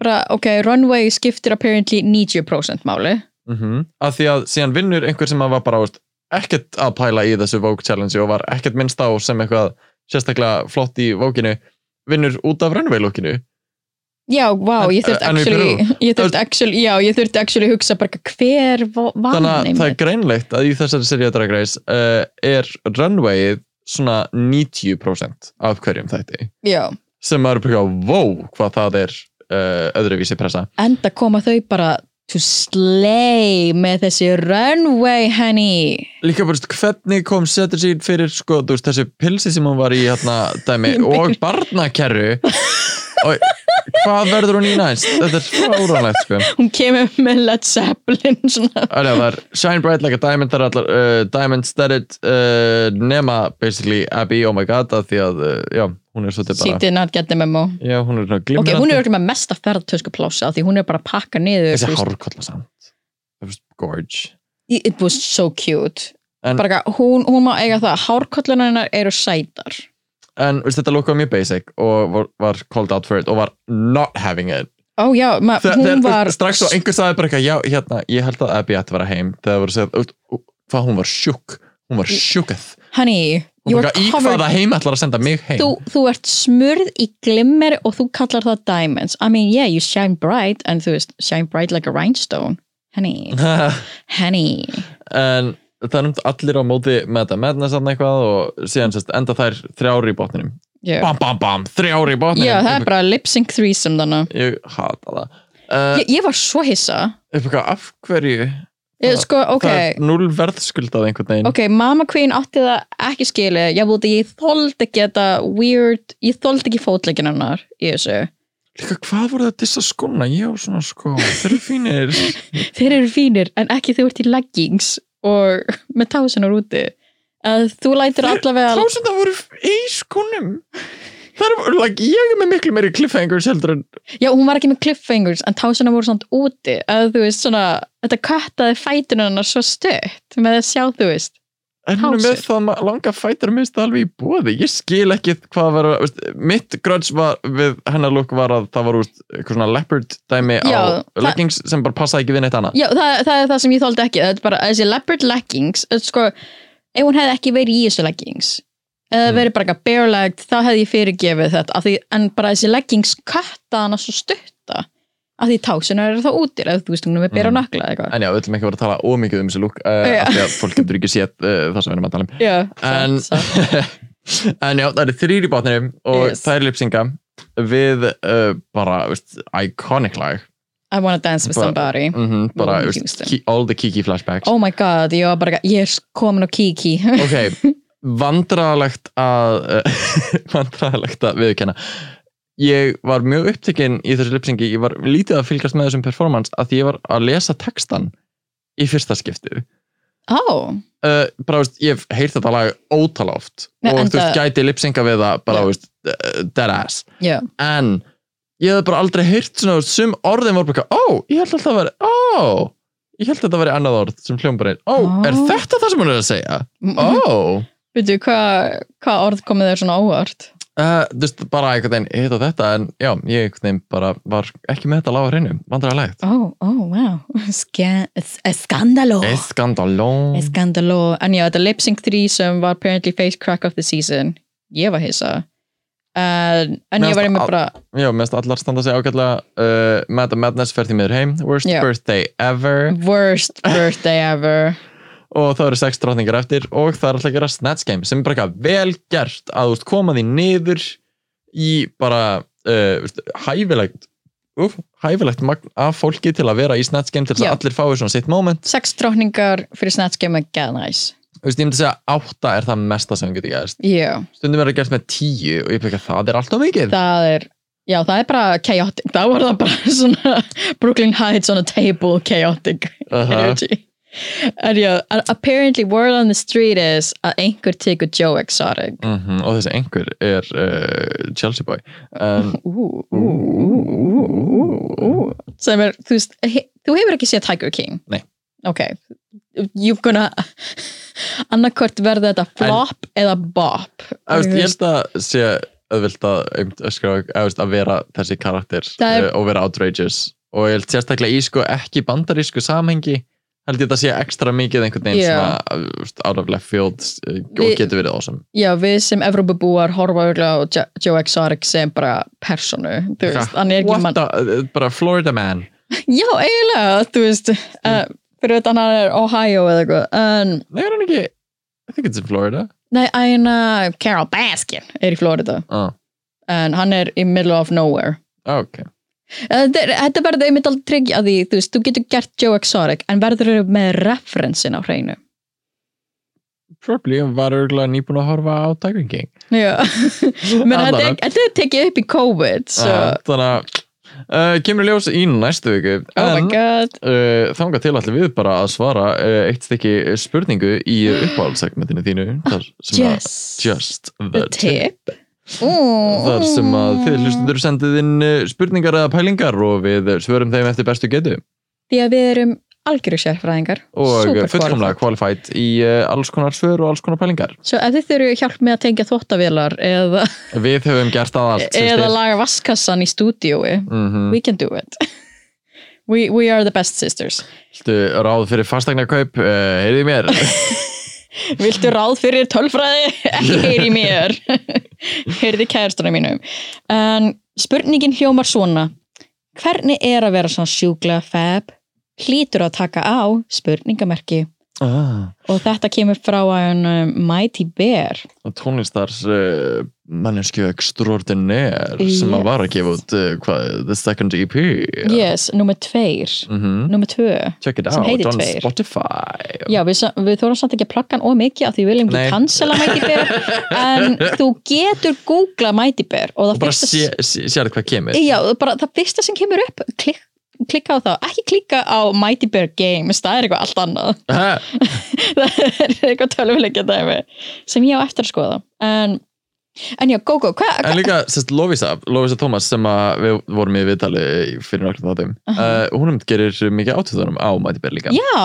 bara, ok, runway skiptir apparently 90% máli Mm að því að síðan vinnur einhver sem að var bara veist, ekkert að pæla í þessu Vogue challenge og var ekkert minnst á sem eitthvað sérstaklega flott í Vogue-inu vinnur út af runway-lookinu Já, wow, En- ég þurft en við actually, byrjum. ég þurft Þú- actually, já, ég þurft actually hugsa bara hver va- vann þannig að það er Ah, einmitt? greinlegt að í þessari seríu Drag Race uh, er runwayið svona 90% af hverjum þætti Já, sem maður byggja á, wow, hvað það er uh, öðruvísi pressa enda koma þau bara to slay með þessi runway, honey líka bara, veist, hvernig kom setur sín fyrir sko, þú veist, þessi pilsi sem hún var í hérna, dæmi, Ég meina- og barnakerru og hvað verður hún í næst þetta er fáránlegt sko Hún kemur með Led Zeppelin svona Alja, það er Shine Bright Like a Diamond það er allar uh, Diamond Studded uh, nema basically Abby, oh my god að því að, uh, já, hún er svo til She bara did not get the memo já, hún er Ok, glimrandi hún er okkur með mesta ferðtösku plása því hún er bara að pakka niður þú þessi veist. hárkolla samt Það er gorge It was so cute En- bara, eitthvað, hún, hún má eiga það, hárkollunar hennar eru sætar en veist, þetta lukkaði mjög basic og var, var called out for it og var not having it Ó já, ma, Þe- hún þegar- var strax og einhver sagði bara eitthvað já, hérna, ég held að Abby ætti að vera heim þegar það voru að segja, veist, ú, hvað hún var sjúk hún var sjúkað Honey, Hún you var are eitthvað, í covered hvaða heim ætlar að senda mig heim þú, þú ert smurð í glimmer og þú kallar það diamonds I mean, yeah, you shine bright en þú veist, shine bright like a rhinestone Honey, honey [LAUGHS] en það er um allir á móti með þetta meðna saman eitthvað og síðan sérst, enda þær þrjári í botninum Já, bam bam bam, þrjári í botninum Já, það er bara lip sync threesome þannig ég hata það uh, Ég, ég var svo hissa upp eitthvað af hverju Ég, Það- Sko, ok, það er null verðskuldað einhvern veginn ok, Mama Queen átti það ekki skilið, ég vóti ég þóldi ekki þetta weird, ég þóldi ekki fótleikin hennar í þessu. líka hvað voru það að dissa skóna, ég á svona sko þeir eru [LAUGHS] fínir Þeir eru fínir en ekki þau ert í leggings og [LAUGHS] með tásunar úti. Að þú lætir Þeir- allavega þá sem það voru í skónum það er, like, ég er með miklu meiri cliffhangers heldur en Já, hún var ekki með cliffhangers en tásunar voru samt úti að þú veist svona, þetta köttaði fætinu hennar svo stutt með að sjá þú veist En hún er með Hásir. það ma- langa fætur minnst það alveg í bóði. Ég skil ekki hvað var, veist, mitt grudge var við hennar lúk var að það var úst, eitthvað svona leopard dæmi Já, á það- leggings sem bara passaði ekki við neitt annað. Já, það, það er það sem ég þóldi ekki það er bara þessi leopard leggings eh, sko, ef hún hefði ekki verið í þessu leggings eða Mm. verið bara eitthvað barelegged þá hefði ég fyrirgefið þetta af því, en bara þessi leggings katta hana svo stutta af því tásunar eru þá útir ef þú veist hún er með bera og Mm. nakla eða eitthvað En já, við ætlum ekki að vera að tala ómikið um þessi lúk uh, Já. af því að fólk getur ekki séð uh, það sem við erum að tala um. Já, En, satt, satt. [LAUGHS] en já, það eru þrýr í bátnum og Yes. það er lipsinga við uh, bara, veist, iconic lag. I wanna dance with Bara- somebody Mm bara, Whitney veist, Houston. ki- all the Kiki flashbacks. Oh my god, ég var bara ég er komin á kiki [LAUGHS] ok, vandralegt að [LAUGHS] vandralegt að viðkenna ég var mjög upptekinn í þessu lipsingi ég var lítið að fylgjast með þessum performance að því ég var að lesa textan í fyrsta skiptið Ó, uh, bara, veist, ég hef heyrt þetta lag ótal oft Nei, og en þú veist, það- gæti lipsinga við það bara, Já. veist, uh, dead ass já en ég hef bara aldrei heyrt svona, veist, sum orðin voru bara, eitthvað, ó, ég held alltaf að vera ó, ég held að þetta veri annað orð sem hljómbarinn, ó, Ó. Mhm. er þetta það sem hún er að segja? ó Mm, Veitu, hvað hva orð komið þér svona óvart? Uh, þú veist, bara einhvern veginn hitt á þetta en já, ég einhvern veginn bara var ekki með þetta lága hreinu, vandræðalegt Ó, ó, wow [LAUGHS] Skan- es- Skandaló oh. Eskandalón It's Gandaló, en já, þetta Lip Sync 3 sem var apparently face crack of the season ég var hissa en, en Mér ég var fannst einmitt al- bara Já, mest allar standa sig ágætlega uh, Mad Madness fer því miður heim Worst Já. birthday ever worst birthday ever og það eru sex drotningar eftir og það er alltaf að gera Snatch Game sem er bara eitthvað vel gert að þú veist, koma því niður í bara uh, veist, hæfilegt Úf, hæfilegt magn af fólki til að vera í Snatch Game til þess Já. að allir fái svona sitt moment sex drókningar fyrir Snatch Game að geða næs Þú veist, ég myndi að segja átta er það mesta sem getur gæst já, stundum er það gert með tíu og ég pekka það er alltaf mikið það er já, það er bara [LAUGHS] chaotic, það var það bara svona Brooklyn Heights on a table chaotic Aha. energy En já, a- apparently word on the street is að einhver tekur Joe Exotic. Mhm, og þessi einhver er uh, Chelsea boy um, Ú, ú, ú, ú, ú, ú. Sem er, þú veist, he- þú hefur ekki séð Tiger King? Nei. Ok, you're gonna, [LAUGHS] annarkvort verða þetta flop eða bop. að, veist, ég held að sé auðvilt að, einmitt öskra, að, veist, að vera þessi karakter Það er- eh, og vera outrageous og ég held sérstaklega í sko ekki bandarísku samhengi held ég þetta sé ekstra mikið einhvern veginn Já. yeah. svona eh, veist, out of left field eh, Vi- og getur verið awesome Já, við sem Evrópubúar horfa auðvitað á Jo- Joe Exotic sem bara personu, þú veist, hann er ekki What mann. the- eh, bara Florida man Já, eiginlega, þú veist, uh, Mm. fyrir þetta hann er Ohio Um, eða eitthvað. En, Nei, er hann ekki I think it's in Florida nei, æna Carol Baskin er í Florida, Um, oh. en hann er in middle of nowhere. Ah, ok Eh, Þetta er- þetta verður einmitt aldrei tryggja að því, þú veist, þú getur gert Joe Exotic en verður eru með referensin á hreinu. Probably, hann var örgulega nýbúin að horfa á Tiger King Já, [LAUGHS] menn þetta Allavega. er- þetta er tekið upp í COVID, so, Ah, Þannig að uh, kemur í ljós í næstu viku oh my en- god. Uh, þangað til allir við bara að svara uh, eitt stykki spurningu í uppáhaldsegmentinu þínu þar sem að- Yes, just the the tip tip. Ooh. þar sem að þið hlustundur sendið inn uh, spurningar eða pælingar og við svörum þeim eftir bestu getu Því að við erum algjöru sérfræðingar. og eh, super fullkomlega qualified. qualified í uh, alls konar svör og alls konar pælingar Svo ef þið þurfum hjálp með að tengja þvóttavélar eða, við höfum gert það allt eða laga vaskassan í stúdíói, mm we can do it. [LAUGHS] we, we are the best sisters. ráð fyrir fastegna kaup uh, heyrðið mér Viltu ráð fyrir [LAUGHS] tölfræði? Ekki heyri mér. [LAUGHS] Heyrði kærastuna mínum. En spurningin hljómar svona. Hvernig er að vera svona sjúklega fab? Hlýtur að taka á spurningamerki. ah, Og þetta kemur frá að um, Mighty Bear. tónlistars uh, mannesku extraordinaire sem að var að gefa út uh, hvað, The Second E EP Yes, nummer tveir. mm Nummer tvö. check it Sem out heitir on tveir. Spotify Já, við, sa- við þórum samt ekki að plugga hann of mikið af því við viljum Nei. ekki cancela Mighty [LAUGHS] Bear. En þú getur googlað Mighty Bear og og það bara fyrsta- sé, sé, sér hvað kemur Já, bara það fyrsta sem kemur upp klik, klikka á það, ekki klikka á Mighty Bear Games, það er eitthvað allt annað [LAUGHS] Ha, það er eitthvað tölvuleikja dæmi sem ég á eftir að skoða en, en já, Gogo, hvað en líka sérst, Lovisa, Lovisa Thomas sem að við vorum í viðtali fyrir náttúrulega þáttum uh, hún um gerir mikið átöðunum á Mighty Bear líka já,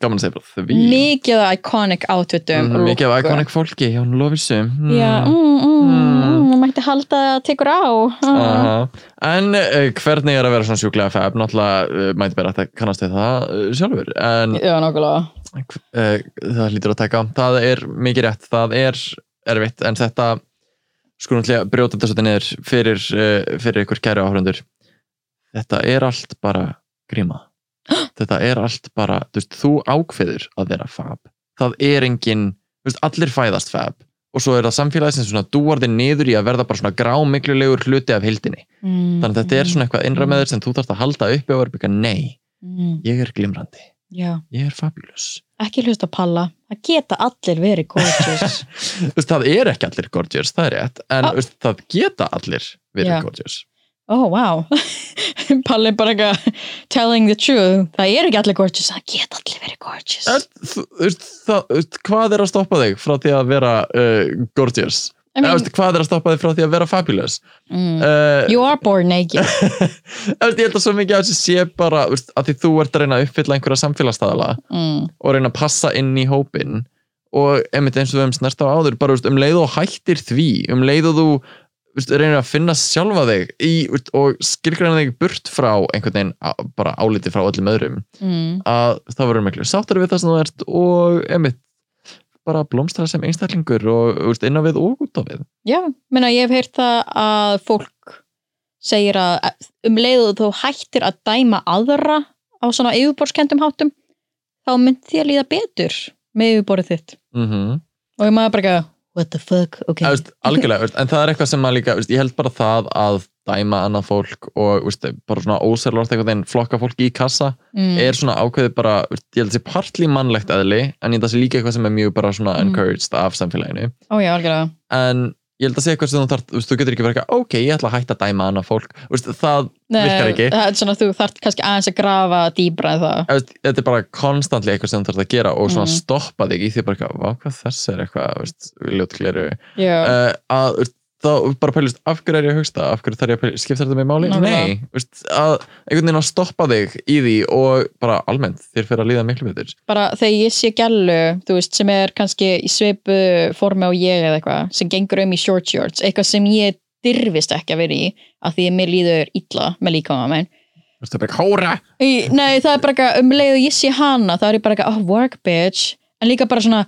gaman að segja bara því mikið af iconic átutum Mhm, mikið af iconic fólki hjá hún Lovisu mm. Já, mm, mm, Mm. mm, maður mætti halda að það tekur á uh, Aha. En uh, hvernig er að vera svona sjúklega feb? Náttúrulega uh, mæti bara að kannast við það uh, sjálfur En Já, nokkulega uh, það hlýtur að taka á. það er mikið rétt, það er erfitt en þetta skulum alltaf brjóta þetta svolítið niður fyrir, uh, fyrir ykkur kæru áhörundur þetta er allt bara gríma þetta er allt bara þú, veist, þú ákveður að vera fab það er engin, þú veist, allir fæðast fab og svo er það samfélagið sem svona dúarði niður í að verða bara svona grámiklulegur hluti af hildinni, mm, þannig að þetta er svona eitthvað innra með þér sem þú þarfst að halda uppi og er byggja nei, mm, ég er glimrandi Já, ég er fabulous ekki hlusta á palla það geta allir verið [LAUGHS] gorgeous Þú veist, það er ekki allir gorgeous, það er rétt en Ah. þú veist, það geta allir verið Já. gorgeous oh wow [LAUGHS] Palli bara eitthvað telling the truth það er ekki allir gorgeous, það geta allir verið gorgeous en, þú, þú veist, það, þú veist, hvað er að stoppa þig frá því að vera uh, gorgeous I Eða, þú mean, veist, hvað er að stoppa þig frá því að vera fabulous mm, uh, you are born naked [LAUGHS] þú veist, ég held að svo mikið að þessi sé bara þú veist, að því þú ert að reyna að uppfylla einhverja samfélagstæðala mm, og reyna að passa inn í hópin og einmitt eins og við höfum snert á áður bara þú veist, um leið og hættir því um leið og þú þú veist, reynir að finna sjálfa þig í, þú veist, og skilgræna þig burt frá einhvern veginn á- bara áliti frá öllum öðrum mm. að það verður miklu sáttar við það sem þú ert og einmitt bara blómstra sem einstaklingur og þú veist, inn á við og út á við já, menna ég hef heyrt það að fólk segir að um leiðu þú hættir að dæma aðra á svona yfirborskendum hátum þá mynd því að líða betur með yfirborðið þitt mm og ég maður bara eitthvað what the fuck, ok okay. veist, algjörlega, veist, en það er eitthvað sem að líka veist, ég held bara það að dæma annað fólk og veist, bara svona ósérlort einhvern veginn flokka fólk í kassa mm, er svona ákveðið bara, ég held að það sé partli mannlegt eðli, en ég held að það sé líka eitthvað sem er mjög bara svona Mm. encouraged af samfélaginu, ó já, algjörlega en ég held að sé eitthvað sem þú þarf, þú, veist, þú getur ekki verið eitthvað, ok, ég ætla að hætta að dæma annað fólk, þú veist, það virkar ekki það er svona þú þarft kannski aðeins að grafa dýbra en það Þú veist, þetta er bara konstantli eitthvað sem þú þarf að gera og svona Mm. stoppa þig í því bara eitthvað, vá, hvað þess er eitthvað, þú veist, ljót gleru já, uh, að þú veist, þá bara pælist af hverju er ég að hugsa það, af hverju þarf ég að pælist, skipta þetta með máli? Nákvæmlega. Nei, þú veist, að einhvern veginn að stoppa þig í því og bara almennt, þér fyrir að líða miklu betur bara þegar ég sé gælu þú veist, sem er kannski í svipu formi á ég eða eitthvað, sem gengur um í short shorts, eitthvað sem ég dyrfist ekki að vera í, af því að mér líður illa með líkama minn Þú veist, það er bara eitthvað, hóra! Í- Nei, það er bara eitthvað, um leið og ég sé hana þá er ég bara eitthvað, oh, work bitch en líka bara svona,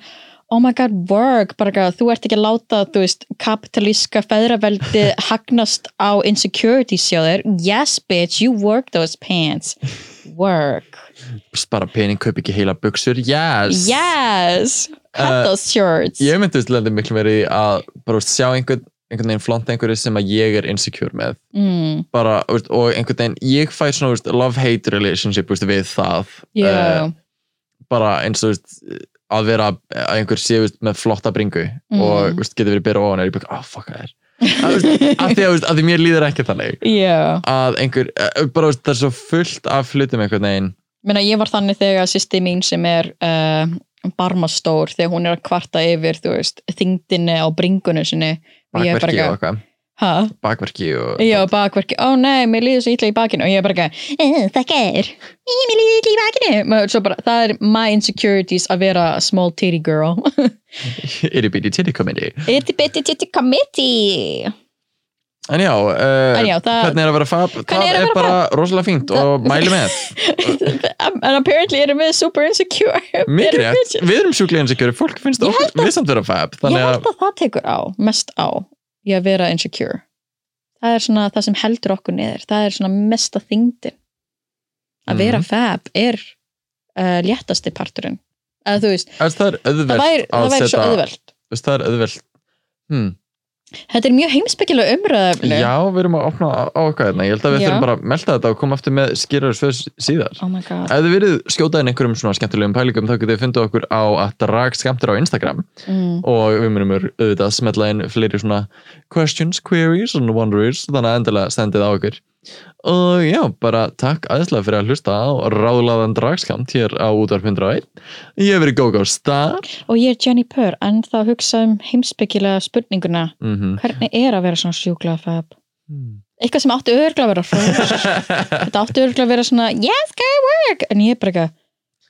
oh my god, work bara eitthvað, þú ert ekki að láta, þú veist kapitalíska feðraveldi [LAUGHS] hagnast á insecurities hjá þér yes bitch, you work those pants work Spara pening, kaup ekki heila buksur, yes! yes, cut Uh, those shorts Ég myndi veist lendir miklu meiri að bara þú veist, sjá einhvern, einhvern veginn flont einhverju sem að ég er insecure með mm, bara, þú veist, og einhvern veginn, ég fæ svona þú veist, love-hate relationship þú veist, við það yeah. Eh, bara eins og þú veist, að vera að einhver sé þú veist, með flotta bringu Mhm. og þú veist, getur verið byrja ofan og ég bara, ah, fuck það er að, þú veist, að, því, að, þú veist, að því mér líður ekki þannig yeah. að einhver, eh, bara þú veist, það er svo fullt af hlutum einhvern veginn Meina, ég var þannig þegar sýsti mín sem er uh, barmastór þegar hún er að kvarta yfir, þú veist, þyngdinni á bringunum sinni og ég er bara bakverki og ekki, eitthvað, hæ? bakverki og Já, bakverki, ó nei, mér líður svo illa í bakinu og ég er bara ekki, "Eh, það ger Eh, mér líður illa í bakinu Maður- svo bara, það er my insecurities að vera a small titty girl [LAUGHS] itty bitty titty comedy itty bitty titty committee en já, uh, En já, það- hvernig er að vera fab það er er, að vera bara rosalega fínt og mæli með [LAUGHS] and apparently erum við super insecure Ah. mikið Erum rétt, við- við erum sjúkleginn sikur fólk finnst Ég okkur, við samt vera fab Ég þannig að held að það tekur á, mest á í að vera insecure það er svona það sem heldur okkur niður það er svona mesta þyngdin að Mhm. vera fab er uh, léttasti parturinn eða þú veist, þú veist, það er það auðvelt væri, það að væri svo setja- auðvelt þú veist, það er auðvelt hmm. Þetta er mjög heimspekilega umræðafni. Já, við erum að opna á á eitthvað hérna. Ég held að við Já. þurfum bara að melda þetta og koma aftur með skýrar svöð síðar. Oh my god. Ef þið verið skjótað inn einhverjum svona skemmtilegum pælingum þá getið þið fundið okkur á að drag skemmtir á Instagram Mm. og við munum auðvitað smetla inn fleiri svona questions, queries and wonders þannig að endilega sendið á okkur. Og já, bara takk aðeinslega fyrir að hlusta á ráðlaðan dragskamt hér á útvarp 101. Ég hef verið GóGó Star. Og ég er Jenny Purr, en þá hugsa um heimspekilega spurninguna. Mm Hvernig er að vera svona sjúklað fab? -hmm. Eitthvað sem átti örgla að vera fólk. [LAUGHS] Þetta átti örgla að vera svona, yes, go work! En ég er bara eitthvað,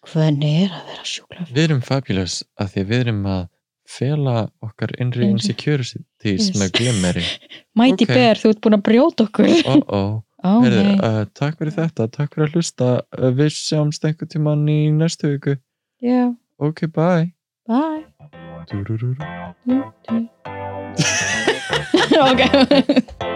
hvernig er að vera sjúklað fab? Við erum fabulous að því að við erum að fela okkar innri Innri. insecurities Yes. með glimmeri. [LAUGHS] Mighty Ok. Bear, þú ert búin að brjóta okkur. Ó, ó, Ó, Oh, heyrðu, nei. uh, takk fyrir þetta, takk fyrir að hlusta. Uh, við sjáumst einhvern tíman í næstu viku. Já, Ok, bye. bye. [LAUGHS] Dúrurúrú. ok.